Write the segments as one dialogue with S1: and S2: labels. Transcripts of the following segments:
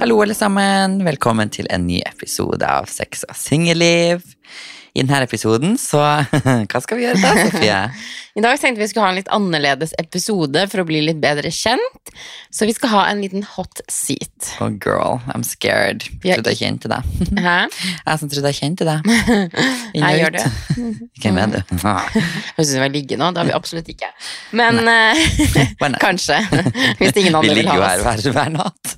S1: Hallo, alle sammen. Velkommen til en ny episode av Sex og singelliv. I denne episoden, så Hva skal vi gjøre da, Sofie?
S2: I dag tenkte vi skulle ha en litt annerledes episode for å bli litt bedre kjent. Så vi skal ha en liten hot seat.
S1: Oh, girl, I'm scared.
S2: Ja.
S1: Trodde jeg kjente deg.
S2: Hæ?
S1: Jeg som trodde jeg kjente deg. Inn og
S2: Jeg
S1: ut.
S2: gjør det. Mm.
S1: Hvem er du?
S2: Jeg synes vi var ligge nå, det har vi absolutt ikke. Men eh,
S1: Å, nei.
S2: kanskje. Hvis
S1: Vi
S2: ingen andre vil
S1: ligger jo
S2: ha
S1: her
S2: oss.
S1: hver, hver natt.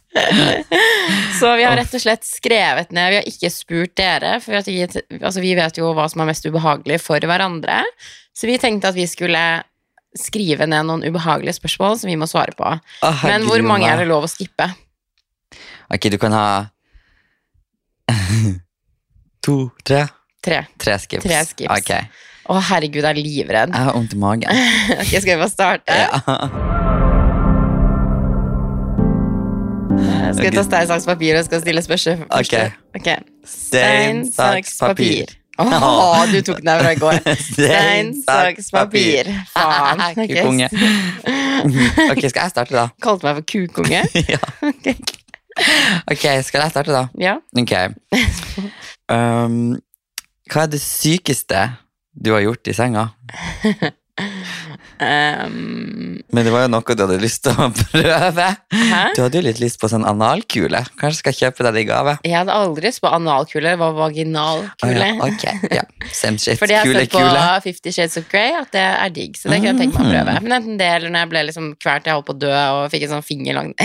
S2: Så vi har rett og slett skrevet ned. Vi har ikke spurt dere, for vi, har ikke gitt, altså, vi vet jo hva som er mest ubehagelig for hverandre. Så vi tenkte at vi skulle skrive ned noen ubehagelige spørsmål som vi må svare på.
S1: Å,
S2: Men hvor
S1: herregud,
S2: mange
S1: mamma.
S2: er det lov å skippe?
S1: Ok, du kan ha To, tre.
S2: Tre.
S1: Tre skips.
S2: Tre skips.
S1: Ok.
S2: Å, herregud, jeg er livredd.
S1: Jeg har vondt i magen.
S2: Ok, skal vi bare starte?
S1: Ja.
S2: Skal vi ta stein, saks, papir og skal stille spørsmål først?
S1: Ok.
S2: Ok.
S1: Stein, saks, papir.
S2: Åh,
S1: Åh.
S2: du tok den fra i går. Stein, saks, papir. Faen. Ok.
S1: Kukonge. Ok, skal jeg starte da?
S2: Kalte meg for kukonge.
S1: ja.
S2: Ok.
S1: Ok, skal jeg starte da?
S2: Ja.
S1: Ok. Um, hva er det sykeste du har gjort i senga?
S2: Ehm,
S1: Men det var jo noe du hadde lyst til å prøve.
S2: hæ?
S1: Du hadde jo litt lyst på sånn analkule. Kanskje skal jeg kjøpe deg det i gave?
S2: Jeg hadde aldri lyst på analkule, det var
S1: Å
S2: vaginalkule.
S1: Ja, ok, ja. Same shit.
S2: For det har jeg
S1: Kule,
S2: sett på
S1: kule. Mm.
S2: Fifty Shades of Grey, at det er digg. Så det kunne jeg tenkt meg å prøve. Men enten det, eller når jeg ble liksom kvalt, jeg holdt på å dø, og fikk en sånn finger langt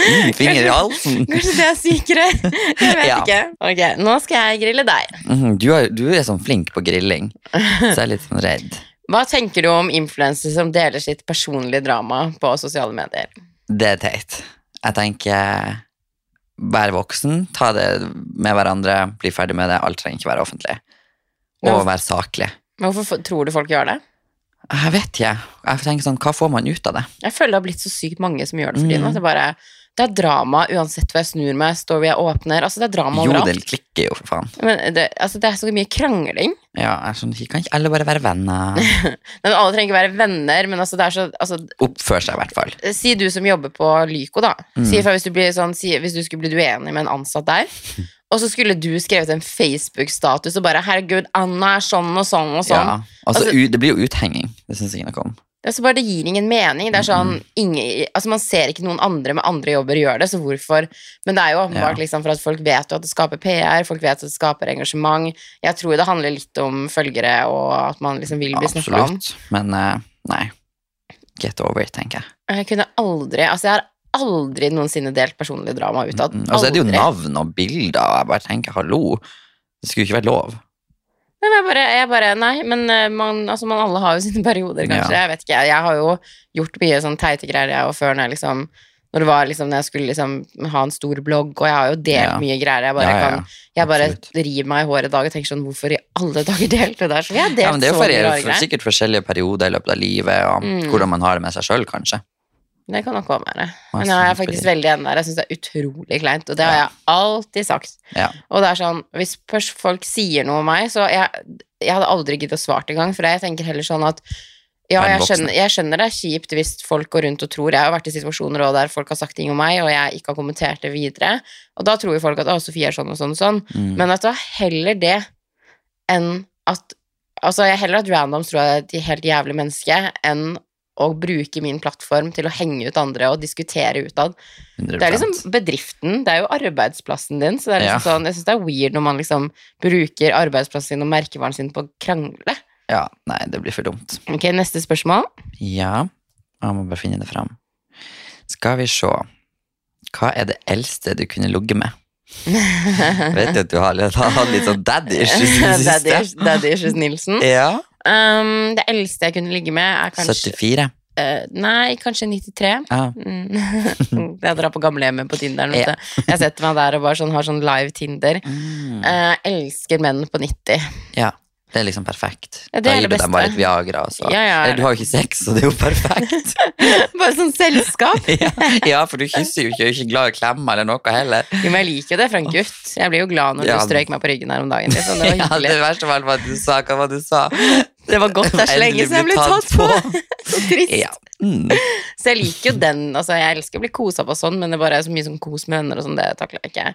S1: Mm, Finger i halsen.
S2: Kanskje det er sykere? Jeg vet
S1: Ja.
S2: ikke. Ok, nå skal jeg grille deg.
S1: Mhm, du, er, du er sånn flink på grilling, så jeg er litt sånn redd.
S2: Hva tenker du om influensere som deler sitt personlige drama på sosiale medier?
S1: Det er teit. Jeg tenker vær voksen, ta det med hverandre, bli ferdig med det. Alt trenger ikke være offentlig. Og
S2: Hvorfor-
S1: vær saklig.
S2: Men Hvorfor f- tror du folk gjør det?
S1: Jeg vet ikke. Jeg tenker sånn, Hva får man ut av det?
S2: Jeg føler det har blitt så sykt mange som gjør det for
S1: Mm.
S2: tiden. at Det, bare, det er drama uansett hvor jeg snur meg, står hvor jeg åpner. Altså, det er drama
S1: Jo, det
S2: overalt.
S1: klikker jo, for faen.
S2: Men det, altså, det er så mye krangling.
S1: Ja, jeg skjønner ikke. Kan ikke alle bare være venner?
S2: Men alle trenger ikke være venner, men altså, det er så altså,
S1: Oppfør seg, i hvert fall.
S2: Si du som jobber på Lyco, da. Si
S1: Mm.
S2: ifra hvis du, blir sånn, si, hvis du skulle bli uenig med en ansatt der. Og så skulle du skrevet en Facebook-status og bare 'Herregud, Anna er sånn og sånn og sånn'.
S1: Ja. Altså,
S2: Altså-
S1: u- det blir jo uthenging. Det syns jeg ikke noe om.
S2: Altså bare Det gir ingen mening. Det er sånn, ingen, altså Man ser ikke noen andre med andre jobber gjøre det, så hvorfor? Men det er jo åpenbart liksom for at folk vet jo at det skaper PR, folk vet at det skaper engasjement. Jeg tror det handler litt om følgere og at man liksom vil bli snakka om.
S1: Absolutt. Men eh, nei. Get over it, tenker jeg.
S2: Jeg kunne aldri Altså, jeg har aldri noensinne delt personlig drama utad.
S1: Mm, Og så er det jo
S2: Aldri.
S1: navn og bilder, og jeg bare tenker hallo. Det skulle ikke vært lov.
S2: Nei, men jeg bare, jeg bare Nei, men eh, man, altså, man alle har jo sine perioder, kanskje.
S1: Ja.
S2: Jeg vet ikke. jeg- Jeg har jo gjort mye sånn teite greier, jeg og før når jeg liksom når det var liksom, når jeg skulle liksom ha en stor blogg, og jeg har jo delt
S1: Ja.
S2: mye greier. Jeg bare,
S1: Ja, ja, ja.
S2: Kan, jeg bare
S1: Absolutt.
S2: river meg i håret i dag og tenker sånn, hvorfor i alle dager delte du det der? Så jeg har delt
S1: Ja, men det er jo
S2: så mye
S1: for,
S2: rare
S1: for
S2: greier.
S1: sikkert forskjellige perioder i løpet av livet, og
S2: Mm.
S1: hvordan man har det med seg sjøl, kanskje.
S2: Det kan nok også være.
S1: Masse
S2: Men jeg er
S1: fint
S2: faktisk
S1: fordi-
S2: veldig enig der. Jeg syns det er utrolig kleint, og det har
S1: Ja.
S2: jeg alltid sagt.
S1: Ja.
S2: Og det er sånn, hvis pers- folk sier noe om meg, så jeg, jeg hadde aldri giddet å svare engang, for jeg tenker heller sånn at ja,
S1: Vær en
S2: jeg
S1: voksen.
S2: skjønner, jeg skjønner det er kjipt hvis folk går rundt og tror Jeg har vært i situasjoner også der folk har sagt ting om meg, og jeg ikke har kommentert det videre. Og da tror jo folk at 'Å, Sofie er sånn og sånn og sånn'.
S1: Mm.
S2: Men at det var heller det enn at Altså, jeg heller at randoms tror jeg er et helt jævlig menneske enn å bruke min plattform til å henge ut andre og diskutere utad. Det er
S1: 100%.
S2: liksom bedriften, det er jo arbeidsplassen din, så det er liksom
S1: Ja.
S2: sånn, jeg syns det er weird når man liksom bruker arbeidsplassen sin og merkevaren sin på å krangle.
S1: Ja, nei, det blir for dumt.
S2: Ok, neste spørsmål.
S1: Ja, jeg må bare finne det fram. Skal vi se. Hva er det eldste du kunne ligget med? Jeg vet jo at du har litt- har hatt litt sånn daddy issues i det
S2: Daddy
S1: siste.
S2: Daddy Issues Nilsen.
S1: Ja.
S2: Um, det eldste jeg kunne ligge med, er kanskje
S1: 74.
S2: eh, Nei, kanskje 93.
S1: Ja.
S2: Mm. jeg drar på gamlehjemmet på Tinderen. vet
S1: Ja.
S2: du. Jeg setter meg der og bare sånn, har sånn live Tinder.
S1: Mm.
S2: Eh, elsker menn på 90.
S1: ja. Det er liksom perfekt.
S2: Ja, det
S1: da
S2: er
S1: gir
S2: det
S1: du dem
S2: beste.
S1: bare et Viagra, og så
S2: Ja, ja.
S1: Eller du har jo ikke sex, så det er jo perfekt.
S2: bare sånn selskap.
S1: ja, ja, for du kysser jo ikke, er jo ikke glad i å klemme eller noe heller.
S2: Jo, men jeg liker jo det fra en gutt. Jeg blir jo glad når
S1: Ja.
S2: du strøk meg på ryggen her om dagen. Liksom. Det,
S1: Ja, det
S2: var hyggelig.
S1: verste var hva du sa, hva var det du sa.
S2: det var godt det er så lenge
S1: Endelig
S2: siden jeg ble tatt på. Så trist.
S1: Ja, Mm.
S2: Så jeg liker jo den. Altså, jeg elsker å bli kosa på sånn, men det bare er så mye sånn kos med venner og sånn, det takler jeg ikke.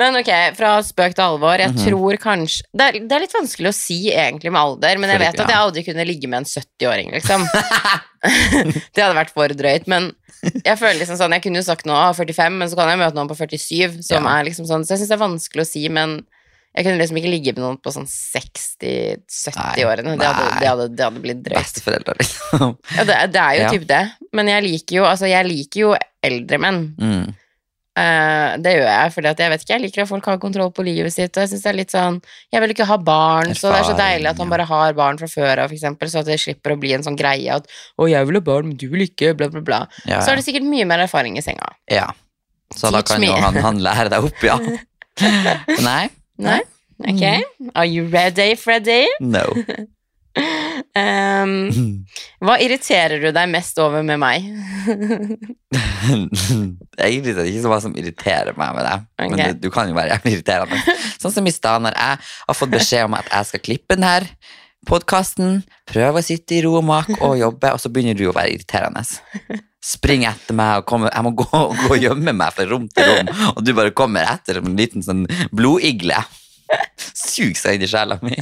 S2: Men ok, fra spøk til alvor. Jeg
S1: Mhm.
S2: tror kanskje det er, det er litt vanskelig å si egentlig med alder, men jeg
S1: Fordi-
S2: vet at jeg aldri kunne ligge med en 70-åring, liksom. det hadde vært for drøyt, men jeg føler liksom sånn Jeg kunne jo sagt nå ah, 45, men så kan jeg møte noen på 47, som
S1: Ja.
S2: er liksom sånn Så jeg syns det er vanskelig å si, men jeg kunne liksom ikke ligge med noen på sånn 60-70-årene. Det, hadde-
S1: Nei.
S2: det, hadde- det hadde blitt drøyt.
S1: Besteforeldre, liksom.
S2: Ja, det, det er jo
S1: Ja.
S2: typ det. Men jeg liker jo, altså, jeg liker jo eldre menn.
S1: Mm.
S2: Eh, det gjør jeg, fordi at jeg vet ikke, jeg liker at folk har kontroll på livet sitt, og jeg synes det er litt sånn, jeg vil ikke ha barn, så det er så
S1: Erfaring,
S2: deilig at han
S1: ja.
S2: bare har barn fra før av, for eksempel, så at det slipper å bli en sånn greie at, å, jeg vil ha barn, men du vil ikke, bla, bla, bla.
S1: Ja,
S2: Så er det sikkert mye mer erfaring i senga.
S1: ja. Så da
S2: Teach
S1: kan
S2: me.
S1: jo han, han lære deg opp, ja. Nei?
S2: Nei? Ok? Are you ready, Freddy?
S1: No.
S2: Ehm, hva irriterer du deg mest over med meg?
S1: Egentlig er det ikke så mye som irriterer meg med deg. Men
S2: Ok.
S1: du, du kan jo være jævlig irriterende. Sånn som i stad, når jeg har fått beskjed om at jeg skal klippe den her podkasten, prøve å sitte i ro og mak og jobbe, og så begynner du å være irriterende. Spring etter meg og kommer, jeg må gå, gå og gjemme meg fra rom til rom, og du bare kommer etter som en liten sånn blodigle. Sug seg inn i sjela mi.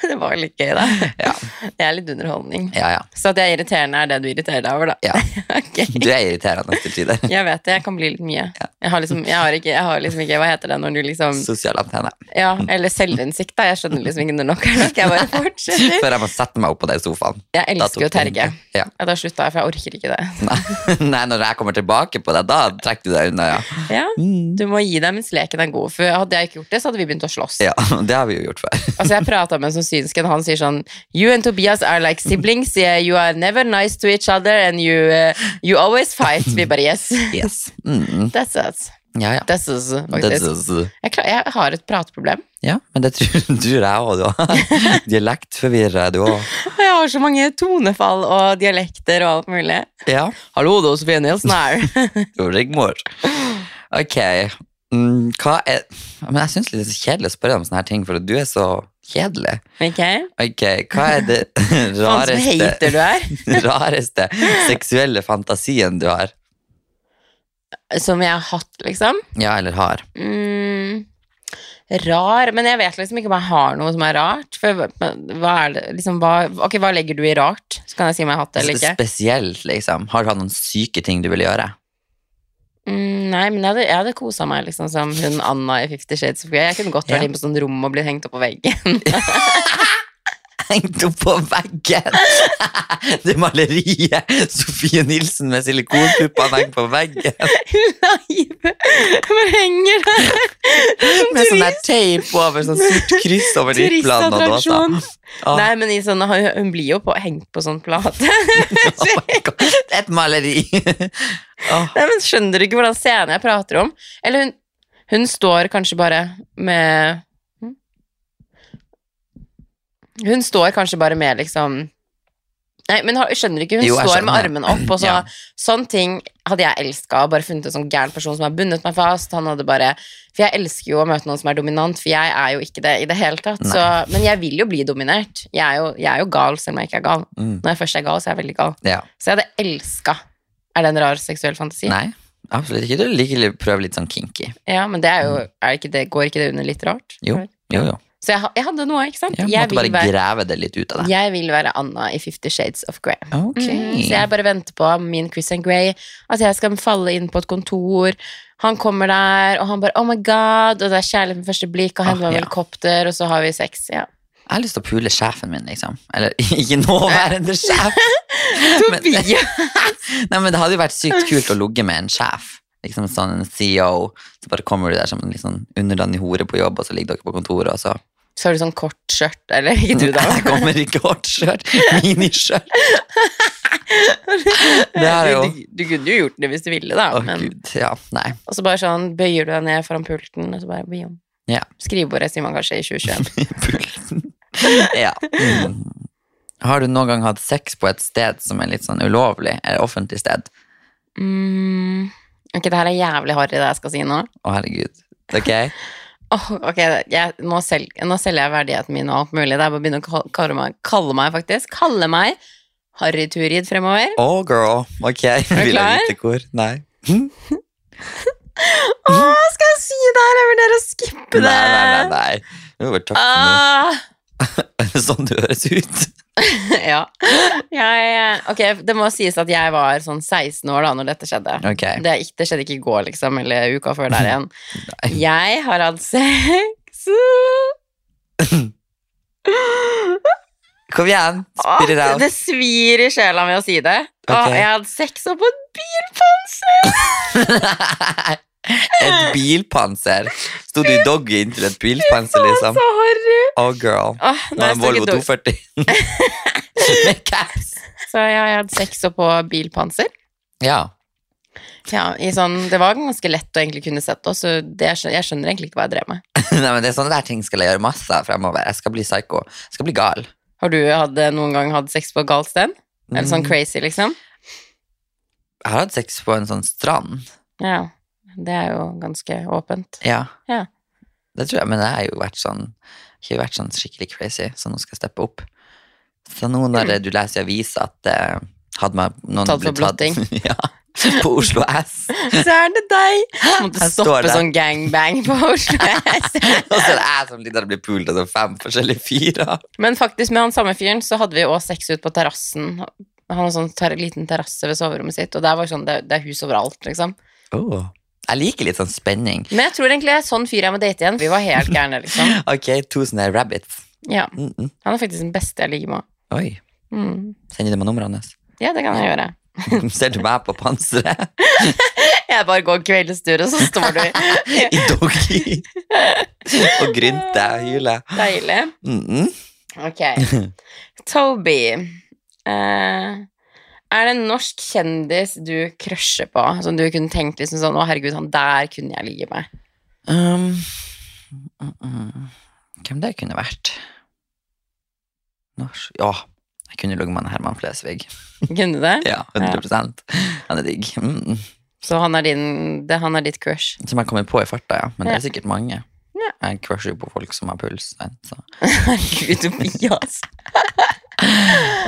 S2: det var litt gøy da.
S1: Ja,
S2: Det er litt underholdning.
S1: ja, ja.
S2: Så at jeg er irriterende, er det du irriterer deg over, da?
S1: Ja.
S2: ok.
S1: Du er irriterende til tider.
S2: Jeg vet det, jeg kan bli litt mye. Jeg, har liksom, jeg, har ikke, jeg har liksom ikke Hva heter det når du liksom
S1: Sosial antenne.
S2: Ja, eller selvinnsikt, da. Jeg skjønner liksom ikke når nok er nok. Jeg bare fortsetter.
S1: Før jeg må sette meg opp på den sofaen.
S2: Jeg
S1: Da
S2: elsker
S1: tok
S2: jo Terje.
S1: den. Ja.
S2: Ja, da slutta jeg, for jeg orker ikke det.
S1: Nei. Nei, når jeg kommer tilbake på deg, da trekker du deg unna, ja.
S2: Ja,
S1: Mm.
S2: Du må gi deg mens leken er god, for hadde jeg ikke gjort det, så hadde vi begynt å slåss.
S1: Ja, det har vi jo gjort før.
S2: Altså, Jeg prata med en sånn synsk en, han sier sånn You and Tobias are like siblings. yeah, You are never nice to each other, and you, eh, you always fight. Vi bare yes.
S1: Yes. Mm.
S2: That's us.
S1: Ja, ja.
S2: That's us,
S1: Det-
S2: faktisk.
S1: det-
S2: Jeg, klar, jeg har et prateproblem.
S1: ja, men det tror, tror jeg òg, du har. Dialektforvirra er du òg.
S2: Og jeg har så mange tonefall og dialekter og alt mulig.
S1: Ja.
S2: Hallo, det er Sofie Nielsen her.
S1: Jo, Rigmor. Ok. Mm, hva er Men jeg syns det er så kjedelig å spørre deg om sånne her ting, for du er så kjedelig.
S2: ok,
S1: Ok, hva er det
S2: faen som
S1: rareste
S2: hater du er.
S1: rareste seksuelle fantasien du har.
S2: Som jeg har hatt, liksom.
S1: Ja, eller har.
S2: Mm, rar, men jeg vet liksom ikke om jeg har noe som er rart. For men hva er det, liksom, hva, ok, hva legger du i rart? Så kan jeg si om jeg har hatt det eller ikke.
S1: Spesielt, liksom. Har du hatt noen syke ting du ville gjøre?
S2: Mm, nei, men jeg hadde, jeg hadde kosa meg liksom som hun Anna i Fifty Shades of Grey. Jeg kunne godt vært
S1: Ja.
S2: inne på sånn rom og blitt hengt opp på veggen.
S1: Hengt opp på veggen! Det maleriet! Sofie Nilsen med silikonpuppene hengt på veggen.
S2: Live! Jeg bare henger der.
S1: Med sånn der teip over, sånn sort kryss over niplene og dåsa.
S2: Turistattraksjon.
S1: Ah.
S2: Nei, men i sånne, hun hun blir jo på, hengt på sånn plate.
S1: Oh my God, Et maleri! Åh,
S2: Nei, men skjønner du ikke hvordan scenen jeg prater om? Eller hun, hun står kanskje bare med Hm? Hun står kanskje bare med liksom Nei, men har- skjønner du ikke? Hun
S1: Jo, jeg
S2: står med
S1: skjønner.
S2: armen opp, og så
S1: Ja.
S2: Sånne ting hadde jeg elska, bare funnet en sånn gæren person som har bundet meg fast. Han hadde bare For jeg elsker jo å møte noen som er dominant, for jeg er jo ikke det i det hele tatt. Så, men jeg vil jo bli dominert. Jeg er jo, jeg er jo gal, selv om jeg ikke er gal.
S1: Mm.
S2: Når jeg først er gal, så er jeg veldig gal.
S1: Ja.
S2: Så jeg hadde elska. Er det en rar seksuell fantasi?
S1: Nei, absolutt ikke. Du liker å prøve litt sånn kinky.
S2: Ja, men det er jo er ikke det, Går ikke det under litt rart?
S1: Mm. Jo, jo, jo.
S2: Så jeg, ha- jeg hadde noe, ikke sant?
S1: Ja,
S2: jeg,
S1: måtte
S2: vil
S1: bare
S2: være,
S1: grave det Mm. litt ut av deg.
S2: jeg vil være Anna i Fifty Shades of Grey.
S1: Ok.
S2: Mhm, Så jeg bare venter på min Christian Grey, at jeg skal falle inn på et kontor. Han kommer der, og han bare 'oh my god', og det er kjærlighet med første blikk, og
S1: Ah,
S2: hender meg med
S1: ja.
S2: helikopter, og så har vi sex. Ja.
S1: Jeg har lyst til å pule sjefen min, liksom. Eller ikke nåværende sjef. Men- Nei, men det hadde jo vært sykt kult å ligge med en sjef. Liksom sånn en CEO. Så bare kommer du der som en litt sånn underdanig hore på jobb, og så ligger dere på kontoret, og så
S2: Så har du sånn kort skjørt, eller ikke du, da?
S1: Jeg kommer i kortskjørt. Miniskjørt. Det er jo
S2: Du, du kunne jo gjort det hvis du ville, da.
S1: Å,
S2: men,
S1: gud. Ja, nei.
S2: og så bare sånn bøyer du deg ned foran pulten, og så bare bøyer om.
S1: Ja.
S2: Skrivebordet sier man kanskje i 2021.
S1: Pulsen. Ja. Mm. Har du noen gang hatt sex på et sted som er litt sånn ulovlig? Eller offentlig sted?
S2: Mm. Ok, det her er jævlig harry, det jeg skal si nå.
S1: Å, herregud. Ok?
S2: Åh, ok, jeg, nå, sel, nå selger jeg verdigheten min og alt mulig. Det er bare å begynne å kal- kalle meg, kalle meg faktisk. Kalle meg harrytur-id fremover.
S1: Å, girl. Ok, vil
S2: klar?
S1: jeg vite hvor? Nei.
S2: Å, skal jeg si det her? Jeg vurderer å skippe
S1: Nei,
S2: det.
S1: nei, nei. nei. Nå var det takk for
S2: Ah.
S1: nå. Sånn det høres ut.
S2: ja. Jeg, ok, det må sies at jeg var sånn 16 år da når dette skjedde.
S1: Ok.
S2: Det, er ikke- det skjedde ikke i går, liksom, eller uka før der igjen. Jeg har hatt sex
S1: Kom igjen.
S2: Åh,
S1: Spit it out.
S2: Ah, Det svir i sjela med å si det. Åh,
S1: Ok.
S2: jeg har hatt sex oppå en bilpanse!
S1: Et bilpanser. Sto du i doggyen til et bilpanser, liksom?
S2: Så horry!
S1: Oh, girl.
S2: Åh, nå
S1: Nå er
S2: har jeg
S1: det Volvo
S2: snakket dårlig.
S1: 240. Med caps.
S2: Så jeg har hatt sex oppå bilpanser.
S1: Ja.
S2: Ja, i sånn, det var ganske lett å egentlig kunne sett oss, så det, jeg skjønner egentlig ikke hva jeg drev med.
S1: Nei, men det er sånne der ting skal jeg gjøre masse av fremover. Jeg skal bli psyko. Jeg skal bli gal.
S2: Har du hatt, eh, noen gang hatt sex på galt sted? Eller sånn
S1: Mm.
S2: crazy, liksom?
S1: Jeg har hatt sex på en sånn strand.
S2: Ja, det er jo ganske åpent.
S1: Ja.
S2: Ja.
S1: Det tror jeg, men jeg har jo vært sånn jeg har vært sånn skikkelig crazy, så nå skal jeg steppe opp. Så nå når du leser i avisa at eh, hadde man noen
S2: Mm. Tatt for
S1: blitt ja, på Oslo S,
S2: Så er det deg! Måtte
S1: Jeg står
S2: stoppe
S1: der.
S2: sånn gangbang på Oslo S.
S1: og så er det jeg som ligger der og blir pult av sånn fem forskjellige fyrer.
S2: Men faktisk, med han samme fyren, så hadde vi òg sex ut på terrassen. Han har sånn ter liten terrasse ved soverommet sitt, og der var sånn, det, det er hus overalt, liksom.
S1: Åh. Jeg liker litt sånn spenning.
S2: Men jeg tror egentlig det er sånn fyr jeg må date igjen. Vi var helt gærne, liksom.
S1: Ok, to sånne rabbits.
S2: Ja,
S1: Mm -mm.
S2: Han er faktisk den beste jeg ligger med.
S1: Oi,
S2: Mm.
S1: sender du meg numrene? hans?
S2: Ja, det kan jeg gjøre.
S1: Ser du meg på panseret?
S2: Jeg bare går kveldstur, og så står du
S1: I doggy? og grynter og hyler?
S2: Deilig.
S1: Mm -mm.
S2: Ok. Toby. eh, er det en norsk kjendis du crusher på, som du kunne tenkt liksom sånn Å, herregud, han der kunne jeg ligge med.
S1: Um, mm, mm. hvem det kunne vært? Norsk Ja, jeg kunne ligget med en Herman Flesvig.
S2: Kunne du det?
S1: Ja, 100 Han er digg. Mm. mm.
S2: Så han er, din, det, han er ditt crush.
S1: Som jeg kommer på i farta, ja. Men det
S2: Ja.
S1: er sikkert mange.
S2: Ja.
S1: Jeg crusher jo på folk som har puls. nei, Så.
S2: Herregud, Tobias.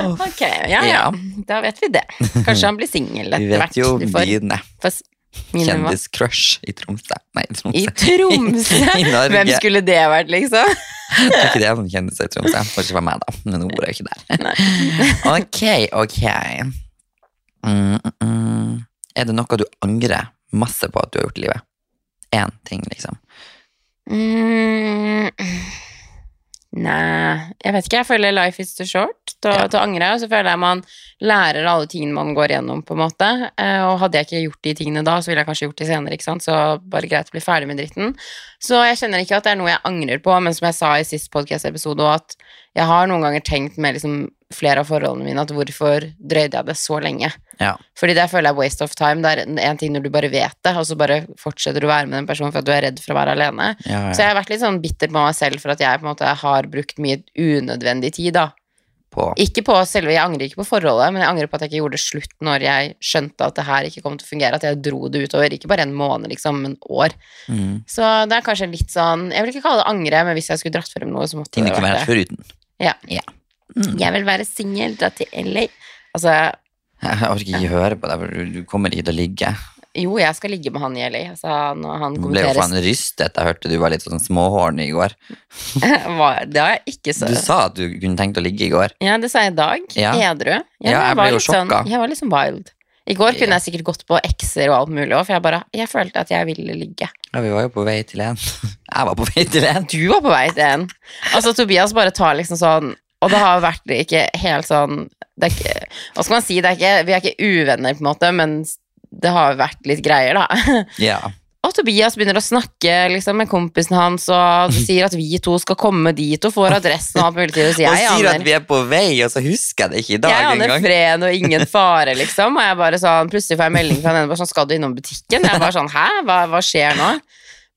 S2: Ok, ja, ja.
S1: Ja.
S2: Da vet vi det. Kanskje han blir singel
S1: Vi
S2: etter
S1: vet
S2: hvert.
S1: jo
S2: Du får-
S1: dine
S2: får s- min nummer.
S1: kjendiscrush i Tromsø. Nei, i Tromsø.
S2: I Tromsø!
S1: I Norge.
S2: Hvem skulle det vært, liksom?
S1: Det er ikke det som kjennes i Tromsø. Det får ikke være meg, da. Men nå bor jeg jo ikke der. Ok, ok. Mm, mm, mm. Er det noe du angrer masse på at du har gjort i livet? Én ting, liksom.
S2: Mm. Nei, jeg vet ikke. Jeg føler life is too short til å-
S1: Ja.
S2: til å angre. Og så føler jeg man lærer alle tingene man går gjennom, på en måte. Eh, Og hadde jeg ikke gjort de tingene da, så ville jeg kanskje gjort de senere, ikke sant. Så bare greit å bli ferdig med dritten. Så jeg kjenner ikke at det er noe jeg angrer på, men som jeg sa i sist podcast-episode også, at jeg har noen ganger tenkt med liksom flere av forholdene mine at hvorfor drøyde jeg det så lenge?
S1: Ja.
S2: Fordi det føler jeg er waste of time. Det er en- en ting når du bare vet det, og så bare fortsetter du å være med den personen for at du er redd for å være alene.
S1: Ja,
S2: Så
S1: ja.
S2: jeg har vært litt sånn bitter på meg selv for at jeg på en måte har brukt mye unødvendig tid, da.
S1: På.
S2: Ikke på selve, jeg angrer ikke på forholdet, men jeg angrer på at jeg ikke gjorde det slutt når jeg skjønte at det her ikke kom til å fungere, at jeg dro det utover, ikke bare en måned, liksom, men år.
S1: Mm.
S2: Så det er kanskje litt sånn, jeg vil ikke kalle det angre, men hvis jeg skulle dratt frem noe, så måtte
S1: Ting du
S2: det
S1: kunne
S2: vært
S1: vært
S2: det.
S1: foruten.
S2: Ja.
S1: Ja. Mm.
S2: Jeg vil være singel, dra til LA. Altså,
S1: Jeg orker ikke høre på deg, for du- du kommer ikke til å ligge.
S2: jo, jeg skal ligge med han i LA, altså, når han
S1: Du ble jo
S2: kommenteres.
S1: faen rystet. Jeg hørte du var litt sånn småhåren i går.
S2: Hva- det har jeg ikke så...
S1: Du sa at du kunne tenkt å ligge i går.
S2: Ja, det sa jeg i dag.
S1: Ja.
S2: Edru. Ja,
S1: Ja, jeg ble
S2: var
S1: jo
S2: litt sånn-
S1: sjokka.
S2: Jeg var litt sånn wild. I går kunne
S1: Ja.
S2: jeg sikkert gått på ekser og alt mulig òg, for jeg bare Jeg følte at jeg ville ligge.
S1: Ja, vi var jo på vei til en. Jeg var på vei til en.
S2: Du var på vei til en. Altså, Tobias bare tar liksom sånn Og det har vært ikke helt sånn det er ikke, Hva skal man si? Det er ikke, vi er ikke uvenner, på en måte, men det har vært litt greier, da.
S1: Ja.
S2: Og Tobias begynner å snakke liksom, med kompisen hans og sier at vi to skal komme dit og får adressen og alt mulig. Og sier,
S1: Og
S2: jeg
S1: sier
S2: aner
S1: at vi er på vei, og så husker jeg det ikke i dag
S2: Jeg aner
S1: engang.
S2: fred og ingen fare, liksom. Og jeg bare sånn, plutselig får jeg melding fra henne bare sånn, skal du innom butikken? Jeg bare sånn, hæ, hva, hva skjer nå?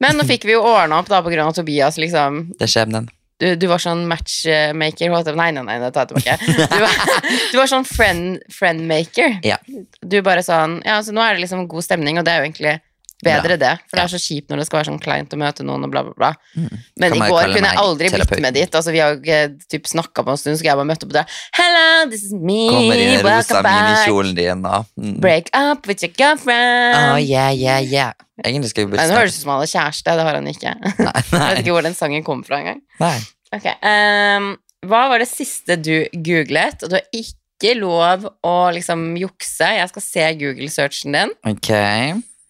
S2: Men nå fikk vi jo ordna opp da på grunn av Tobias, liksom.
S1: Det er skjebnen.
S2: Du, du var sånn matchmaker holdt jeg på- Nei, nei, nei, det tar jeg tilbake. Du var, du var sånn friend, friendmaker.
S1: Ja.
S2: altså, Du bare sånn Ja, så nå er det liksom god stemning, og det er jo egentlig Bedre det, for det er så kjipt når det skal være sånn kleint å møte noen og bla, bla, bla. Men
S1: Mm. Kan
S2: i
S1: man
S2: går
S1: kalle
S2: kunne jeg
S1: meg
S2: aldri blitt
S1: terapeuten?
S2: med dit. Altså, vi har jo ikke typ, snakka på en stund, så jeg bare møtte opp der. Hello, this is me,
S1: Kommer inn i den rosa
S2: welcome back.
S1: minikjolen din og mm.
S2: Break up with your girlfriend.
S1: Oh, yeah, yeah, yeah. Egentlig skal vi
S2: Nei,
S1: bytte
S2: Nå høres det ut som han hadde kjæreste, det har han ikke. Jeg
S1: Nei,
S2: vet
S1: nei,
S2: ikke hvor den sangen kom fra engang.
S1: nei.
S2: Ok, ehm, hva var det siste du googlet? Og du har ikke lov å liksom jukse. Jeg skal se Google-searchen din.
S1: Ok.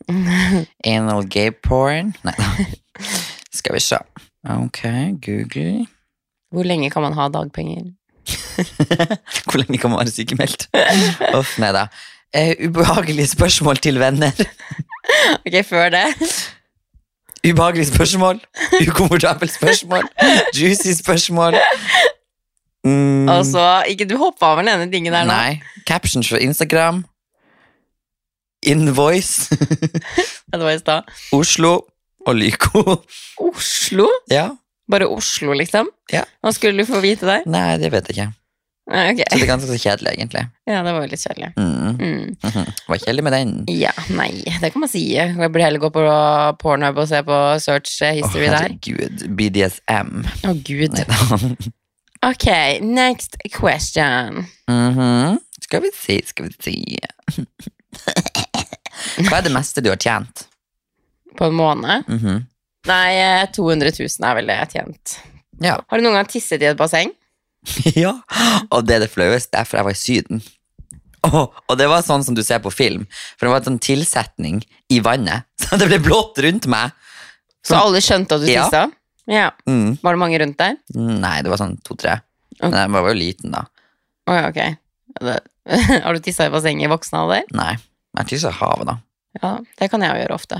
S1: Anal gay porn. Nei da. Skal vi se. Ok, Google.
S2: Hvor lenge kan man ha dagpenger?
S1: Hvor lenge kan man være sykemeldt? Uff, nei da. Eh, ubehagelige spørsmål til venner.
S2: Ok, før det.
S1: Ubehagelige spørsmål. Ukomfortable spørsmål. Juicy spørsmål. Mm,
S2: Og så, ikke du hoppa over den ene dingen der nå.
S1: Nei. Captions fra Instagram. Invoice.
S2: Ja, Det var i stad.
S1: Oslo. Og Lyko.
S2: Oslo?
S1: Ja.
S2: Bare Oslo, liksom?
S1: Ja.
S2: Hva skulle du få vite der?
S1: Nei, det vet jeg ikke.
S2: Nei, Ok,
S1: Så det er ganske så kjedelig, egentlig.
S2: ja, det var jo litt kjedelig.
S1: Mm.
S2: Mm.
S1: Var kjedelig med den.
S2: Ja, nei, det kan man si. Jeg burde heller gå på Pornhub og se på search
S1: Å,
S2: history der.
S1: herregud. BDSM.
S2: Å, gud.
S1: Nei da.
S2: Ok, next question.
S1: Mhm. Skal vi si, skal vi si Hva er det meste du har tjent?
S2: På en måned?
S1: Mhm.
S2: Nei, eh, 200 000 er vel det jeg har tjent.
S1: Ja.
S2: Har du noen gang tisset i et basseng?
S1: ja. Og det er det flaueste, for jeg var i Syden. Åh, og det var sånn som du ser på film, for det var en sånn tilsetning i vannet. Så det ble blått rundt meg.
S2: Så alle skjønte at du
S1: Ja.
S2: tissa? Ja.
S1: Mm.
S2: Var det mange rundt der?
S1: Nei, det var sånn to-tre. Men jeg var jo liten, da.
S2: Å ja, ok. Det- Har du tissa i bassenget i voksen alder?
S1: Nei. Jeg tisser i havet, da.
S2: Ja, det kan jeg jo gjøre ofte.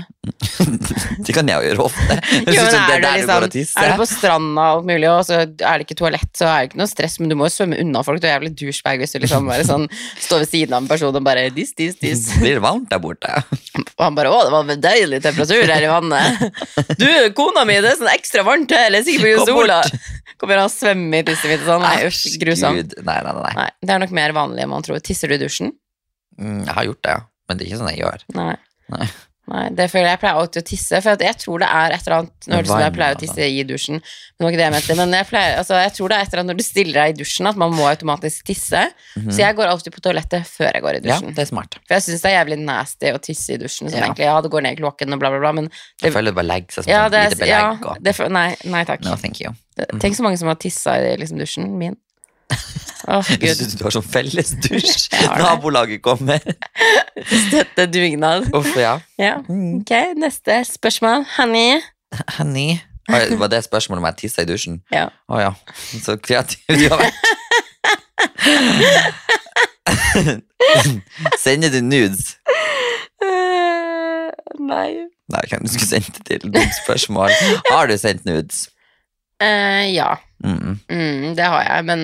S1: Det kan jeg jo gjøre ofte. Det synes
S2: Jo, men
S1: som det
S2: er,
S1: er der du
S2: du
S1: går og
S2: liksom, er du
S1: tisser.
S2: på stranda og alt mulig, og så er det ikke toalett, så er det ikke noe stress, men du må jo svømme unna folk. Du er jævlig douchebag hvis du liksom bare sånn står ved siden av en person og bare dis, dis, dis.
S1: Det blir varmt der borte.
S2: Og han bare 'Å, det var en deilig temperatur her i vannet'. 'Du, kona mi, det er sånn ekstra varmt her, det er sikkert pga.
S1: Kom bort.
S2: sola'. Kommer han og svømmer i tisset mitt og sånn. Nei,
S1: Æsj,
S2: usj, grusomt.
S1: Gud. Nei, nei, nei. nei.
S2: Nei, det er nok mer vanlig enn man tror. Tisser du i dusjen?
S1: Mm, Jeg har gjort det, ja. Men det er ikke sånn jeg gjør.
S2: Nei.
S1: Nei.
S2: Nei, det føler jeg pleier alltid å tisse, for at jeg tror det er et eller annet Nå
S1: Men
S2: høres det ut som jeg
S1: vann,
S2: pleier å
S1: altså.
S2: tisse i dusjen, men det var ikke det jeg mente. Men jeg, pleier, altså, jeg tror det er et eller annet når du stiller deg i dusjen, at man må automatisk tisse. Så jeg går alltid på toalettet før jeg går i
S1: Mhm. Ja,
S2: dusjen.
S1: det er smart.
S2: For jeg syns det er jævlig nasty å tisse i dusjen, som
S1: Ja.
S2: egentlig ja, det går ned i kloakken og bla, bla, bla, men
S1: Jeg føler det bare legger seg som
S2: ja,
S1: sånn
S2: det,
S1: lite
S2: er- ja,
S1: belegg. Og...
S2: det, er for- nei, nei takk.
S1: No, thank you.
S2: Det- Tenk så mange som har tissa i liksom, dusjen min. Åh,
S1: Jeg
S2: gud.
S1: synes du har sånn felles dusj.
S2: Jeg har det.
S1: Nabolaget kommer.
S2: Dette er dugnad.
S1: Uff, ja.
S2: Ja.
S1: Mm.
S2: Ok, neste spørsmål. Honey.
S1: Henny. Oi, Var det spørsmålet om jeg tissa i dusjen?
S2: Ja.
S1: Å ja. Så kreativ du har vært. Sender du nudes?
S2: Eh, nei.
S1: Nei, hvem du skulle sendt det til? Dumt spørsmål. Har du sendt nudes?
S2: Eh, ja,
S1: Mm.
S2: mm, det har jeg, men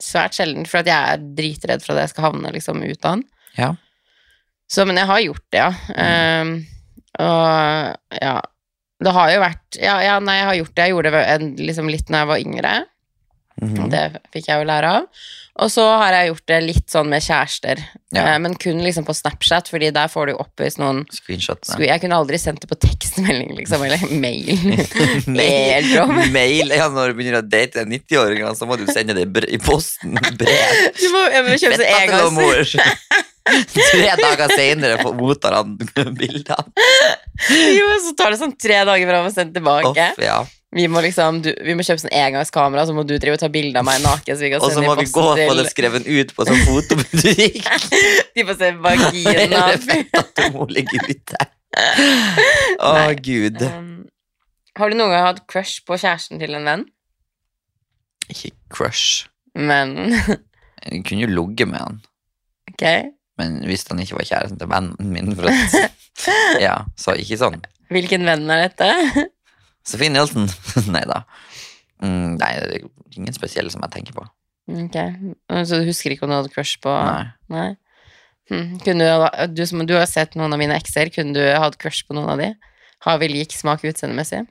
S2: svært sjelden, for at jeg er dritredd for at jeg skal havne liksom, ut av den.
S1: Ja.
S2: Så, men jeg har gjort det, ja.
S1: Mm.
S2: Eh, og ja. Det har jo vært Ja, ja, nei, jeg har gjort det. Jeg gjorde det en, liksom, litt når jeg var yngre. Og
S1: Mhm.
S2: det fikk jeg jo lære av. Og så har jeg gjort det litt sånn med kjærester,
S1: Ja.
S2: eh, men kun liksom på Snapchat, fordi der får du jo oppvist noen
S1: Screenshotene.
S2: Mm. Skulle- Jeg kunne aldri sendt det på tekstmelding, liksom, eller mail.
S1: Mail,
S2: Airdrop.
S1: mail ja, Når du begynner å date 90-åringer, så må du sende det i bre- i posten. Brev.
S2: Du må, jeg må kjøpe sånn
S1: Fett at det var
S2: engangs...
S1: mor. Tre dager senere får- mottar han bildene.
S2: Jo, så tar det sånn tre dager fra å få sendt tilbake.
S1: Off, ja.
S2: Vi må liksom, du, vi må kjøpe sånn engangskamera, så må du drive og ta bilde av meg naken. Så vi kan
S1: Og så
S2: sende
S1: må
S2: i
S1: vi gå
S2: posten
S1: og få
S2: til-
S1: det skrevet ut på sånn fotobutikk.
S2: De får se
S1: Det
S2: vagina.
S1: er fett at du må ligge ute. Å,
S2: Nei.
S1: gud.
S2: Um, har du noen gang hatt crush på kjæresten til en venn?
S1: Ikke crush.
S2: Men
S1: Jeg kunne jo ligget med han,
S2: ok.
S1: men hvis han ikke var kjæresten til vennen min for at, Ja, så ikke sånn.
S2: Hvilken venn er dette?
S1: Sofie Nielsen. Nei da. Mm, nei, det er ingen spesielle som jeg tenker på.
S2: Ok, Så du husker ikke om du hadde crush på
S1: Nei.
S2: Nei. Hm, Kunne du, ha- du, som, du har sett noen av mine ekser, kunne du hatt crush på noen av de? Har vi lik smak utseendemessig?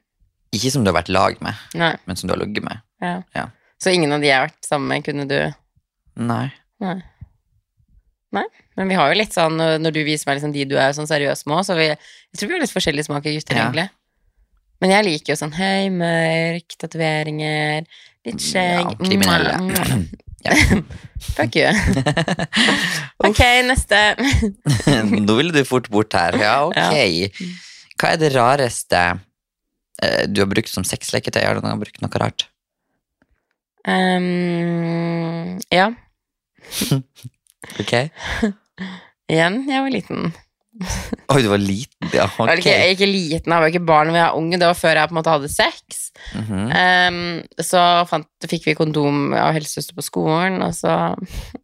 S1: Ikke som du har vært lag med,
S2: Nei.
S1: men som du har ligget med.
S2: Ja.
S1: Ja.
S2: Så ingen av de jeg har vært sammen med, kunne du
S1: Nei.
S2: Nei. Men vi har jo litt sånn øh, Når du viser meg liksom de du er sånn seriøs med også, så vi, jeg tror vi har litt forskjellig smak i gutter,
S1: Ja.
S2: egentlig. Men jeg liker jo sånn høy, mørk, tatoveringer, litt skjegg
S1: Mm, Ja, kriminelle.
S2: mwah, mwah.
S1: Ja.
S2: Fuck you. ok, neste.
S1: Nå ville du fort bort her. Ja, ok. Hva er det rareste eh, du har brukt som sexleketøy? Har du noen gang brukt noe rart?
S2: Um, ja,
S1: Ok?
S2: igjen, jeg var liten.
S1: Oi, du var liten. Ja,
S2: Jeg var
S1: ok.
S2: ikke, jeg er ikke liten, jeg var ikke barn, men jeg var ung. Det var før jeg på en måte hadde sex.
S1: Mhm.
S2: Ehm, så fant, fikk vi kondom av helsesøster på skolen, og så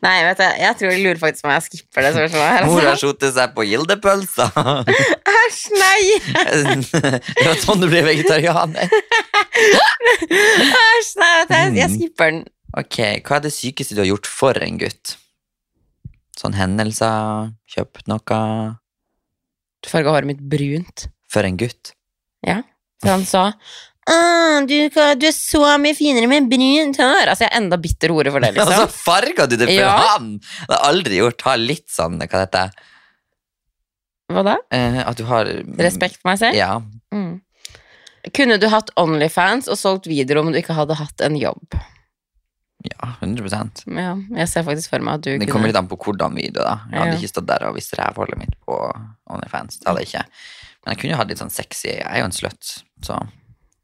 S2: Nei, vet du, jeg tror de lurer faktisk på om jeg skipper det spørsmålet her.
S1: Mor har
S2: Altså.
S1: skjottet seg på gildepølsa.
S2: Æsj, nei!
S1: det var sånn du ble vegetarianer.
S2: Æsj, nei, vet du, jeg, jeg skipper den.
S1: Ok, hva er det sykeste du har gjort for en gutt? Sånn hendelser, kjøpt noe
S2: Du farga håret mitt brunt.
S1: for en gutt?
S2: For han sa «Åh, du, kan- du er så mye finere med brunt hår. Altså, jeg er enda bitter ordet for det,
S1: Og så
S2: liksom.
S1: farga Altså, du det for
S2: Ja.
S1: han! Det har jeg aldri gjort. Ha litt sånn, hva det heter
S2: Hva da?
S1: eh, At du har
S2: Respekt for meg selv?
S1: Ja.
S2: Mm. Kunne du hatt Onlyfans og solgt videoer om du ikke hadde hatt en jobb?
S1: ja, 100
S2: Ja, jeg ser faktisk for meg at du
S1: Det kommer
S2: kunne
S1: litt an på hvordan video, da. Jeg hadde
S2: Ja.
S1: ikke stått der og vist rævhullet mitt på OnlyFans. Det hadde jeg ikke. Men jeg kunne jo hatt litt sånn sexy Jeg er jo en slutt, så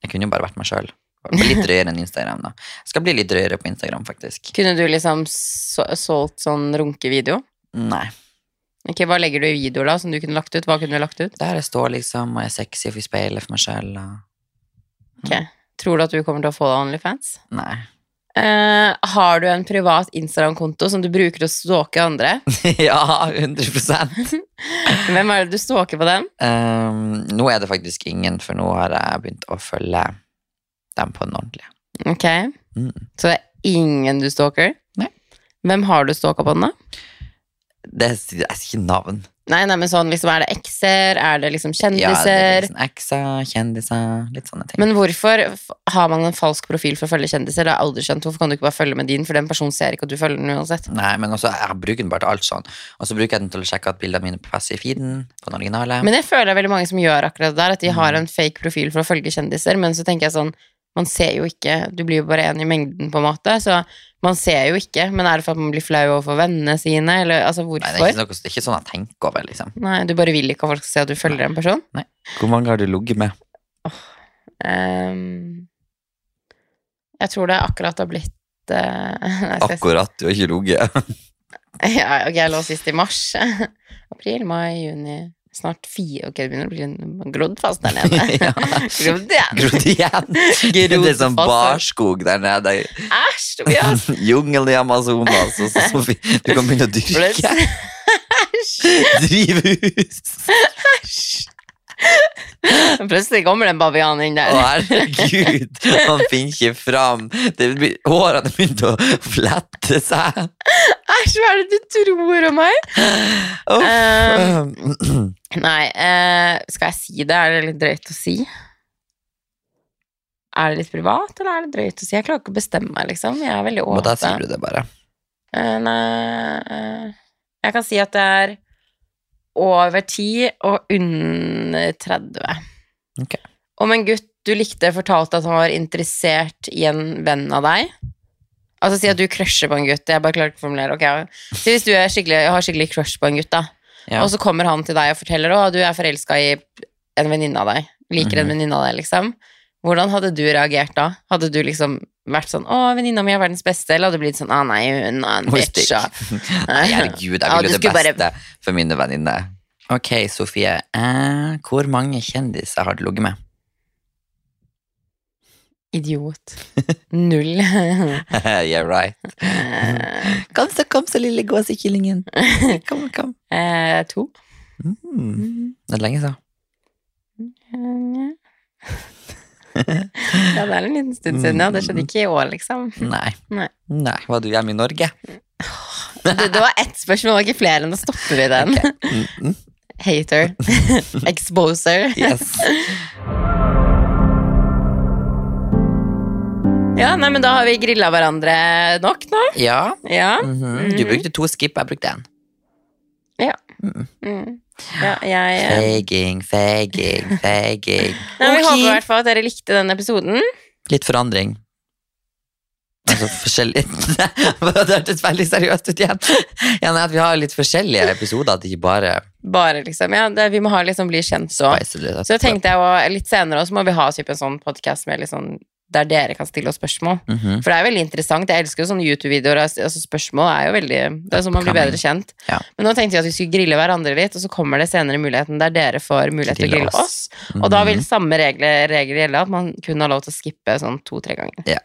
S1: jeg kunne jo bare vært meg sjøl. Litt drøyere enn Instagram, da. Jeg skal bli litt drøyere på Instagram, faktisk.
S2: Kunne du liksom så- solgt sånn runkevideo?
S1: Nei.
S2: Ok, Hva legger du i videoer da, som du kunne lagt ut? Hva kunne du lagt ut?
S1: Der jeg står, liksom, og jeg er sexy og får speile for meg sjøl, og
S2: Tror du at du kommer til å få deg Onlyfans?
S1: Nei.
S2: Eh, har du en privat Instagram-konto som du bruker til å stalke andre?
S1: ja, 100
S2: Hvem er det du stalker på den?
S1: Ehm, Nå er det faktisk ingen, for nå har jeg begynt å følge dem på den ordentlige.
S2: Ok,
S1: Mm.
S2: Så det er ingen du stalker?
S1: Nei.
S2: Hvem har du stalka på den, da?
S1: Det er, jeg sier ikke navn.
S2: Nei, nei, men sånn, liksom, Er det ekser? Er det liksom
S1: Ja, det er
S2: kjendiser?
S1: liksom Ekser, kjendiser, litt sånne ting.
S2: men hvorfor f- har man en falsk profil for å følge kjendiser? Det har jeg aldri skjønt. Hvorfor kan du ikke bare følge med din, for den personen ser ikke at du følger den uansett?
S1: Nei, men også, jeg bruker den bare til alt sånn. Og så bruker jeg den til å sjekke at bildene mine passer i feeden, på den originale.
S2: Men jeg føler det er veldig mange som gjør akkurat det der, at de
S1: Mm.
S2: har en fake profil for å følge kjendiser, men så tenker jeg sånn, man ser jo ikke, du blir jo bare en i mengden på en måte, så man ser jo ikke, men er det for at man blir flau overfor vennene sine, eller altså
S1: Nei, det, er
S2: hvorfor?
S1: ikke noe, det er ikke sånn jeg tenker over, liksom.
S2: Nei, du bare vil ikke at folk skal se at du følger en person.
S1: Hvor mange har du ligget med?
S2: Ehm, jeg tror det akkurat har blitt... eh, nei, skal jeg si-
S1: Akkurat, du har ikke ligget.
S2: Ja, ok, jeg lå sist i mars. April, mai, juni, snart fire, ok, det begynner å bli en grodd fast der nede.
S1: Ja.
S2: Grodd igjen.
S1: Grodd igjen. Det er sånn barskog der nede.
S2: Æsj, Tobias!
S1: Jungelen i Amazonas. Og så, så, fi- du kan begynne å dyrke. Drivhus.
S2: Plutselig kommer det en bavian inn
S1: Å,
S2: der.
S1: herregud. Han finner ikke fram. Det blir- Hårene begynte å flette seg.
S2: Æsj, hva er det du tror om meg?
S1: Uff.
S2: Um,
S1: Um,
S2: Nei, eh, skal jeg si det? Er det litt drøyt å si? Er det litt privat, eller er det drøyt å si? Jeg klarer ikke å bestemme meg, liksom. Jeg er veldig
S1: og da sier
S2: åpen.
S1: du det bare.
S2: Eh, nei, eh, jeg kan si at det er over 10 og under 30.
S1: Ok.
S2: Om en gutt du likte fortalte at han var interessert i en venn av deg Altså si at du crusher på en gutt. Jeg bare klarer ikke å formulere. ok. Si hvis du er skikkelig, har skikkelig crush på en gutt, da.
S1: Ja.
S2: Og så kommer han til deg og forteller at du er forelska i en venninne av deg. Liker en
S1: Mhm.
S2: venninne av deg, liksom. Hvordan hadde du reagert da? Hadde du liksom vært sånn 'Å, venninna mi er verdens beste', eller hadde du blitt sånn 'Å, nei, hun er en
S1: Hun er
S2: bitch', ja.
S1: Nei, herregud, jeg
S2: Ja,
S1: vil
S2: du
S1: jo det
S2: skulle bare-
S1: beste for mine venninner. Ok, Sofie. Eh, hvor mange kjendiser har du ligget med?
S2: Idiot. Null.
S1: yeah, right.
S2: Eh,
S1: Kom så, kom så, lille gåsekillingen. Kom, kom.
S2: eh, to.
S1: Mm.
S2: Mhm.
S1: Det er lenge siden.
S2: Ja, det er en liten stund siden, ja. Det skjedde ikke i år, liksom.
S1: Nei.
S2: Nei.
S1: Nei. Var du hjemme i Norge?
S2: Det, det var ett spørsmål, det var ikke flere, nå stopper vi den.
S1: Mm -mm.
S2: Hater. Exposer.
S1: Yes.
S2: Ja, nei, men da har vi grilla hverandre nok nå.
S1: Ja.
S2: Ja.
S1: mhm. Du
S2: Mhm.
S1: brukte to skip, jeg brukte én.
S2: Mm. ja jeg, eh,
S1: Feiging, feiging, feiging.
S2: nei, vi
S1: Ok.
S2: håper i hvert fall at dere likte den episoden.
S1: Litt forandring. Altså forskjellig Det hørtes veldig seriøst ut igjen. Ja, nei, at vi har litt forskjellige episoder, at det ikke bare
S2: Bare liksom, ja, det, Vi må ha liksom bli kjent så.
S1: beiser det.
S2: Så tenkte jeg også, litt senere også må vi ha typ en sånn podkast sånn, der dere kan stille oss spørsmål.
S1: Mhm.
S2: For det er veldig interessant. Jeg elsker jo sånne YouTube-videoer. Altså spørsmål er jo veldig Det er sånn man blir bedre kjent.
S1: Ja.
S2: Men nå tenkte vi at vi skulle grille hverandre litt, og så kommer det senere muligheten der dere får mulighet til å
S1: Grille
S2: grille oss.
S1: oss.
S2: Og da vil
S1: Mhm.
S2: samme regler, regler gjelde, at man kun har lov til å skippe sånn to-tre ganger.
S1: Ja.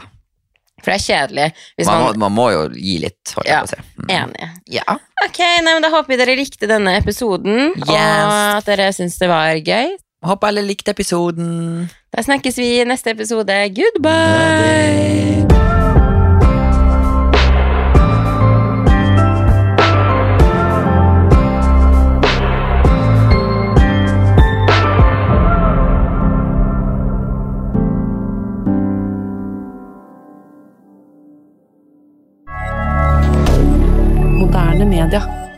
S2: For det er kjedelig hvis
S1: man,
S2: man,
S1: må, man må jo gi litt, holdt jeg
S2: Ja.
S1: på å si. Mm.
S2: er enig.
S1: Ja.
S2: Ok, nei, men Da håper vi dere likte denne episoden, og
S1: Yes.
S2: at dere syns det var gøy.
S1: Håper alle likte episoden.
S2: Da snakkes vi i neste episode. Goodbye!
S3: Moderne media.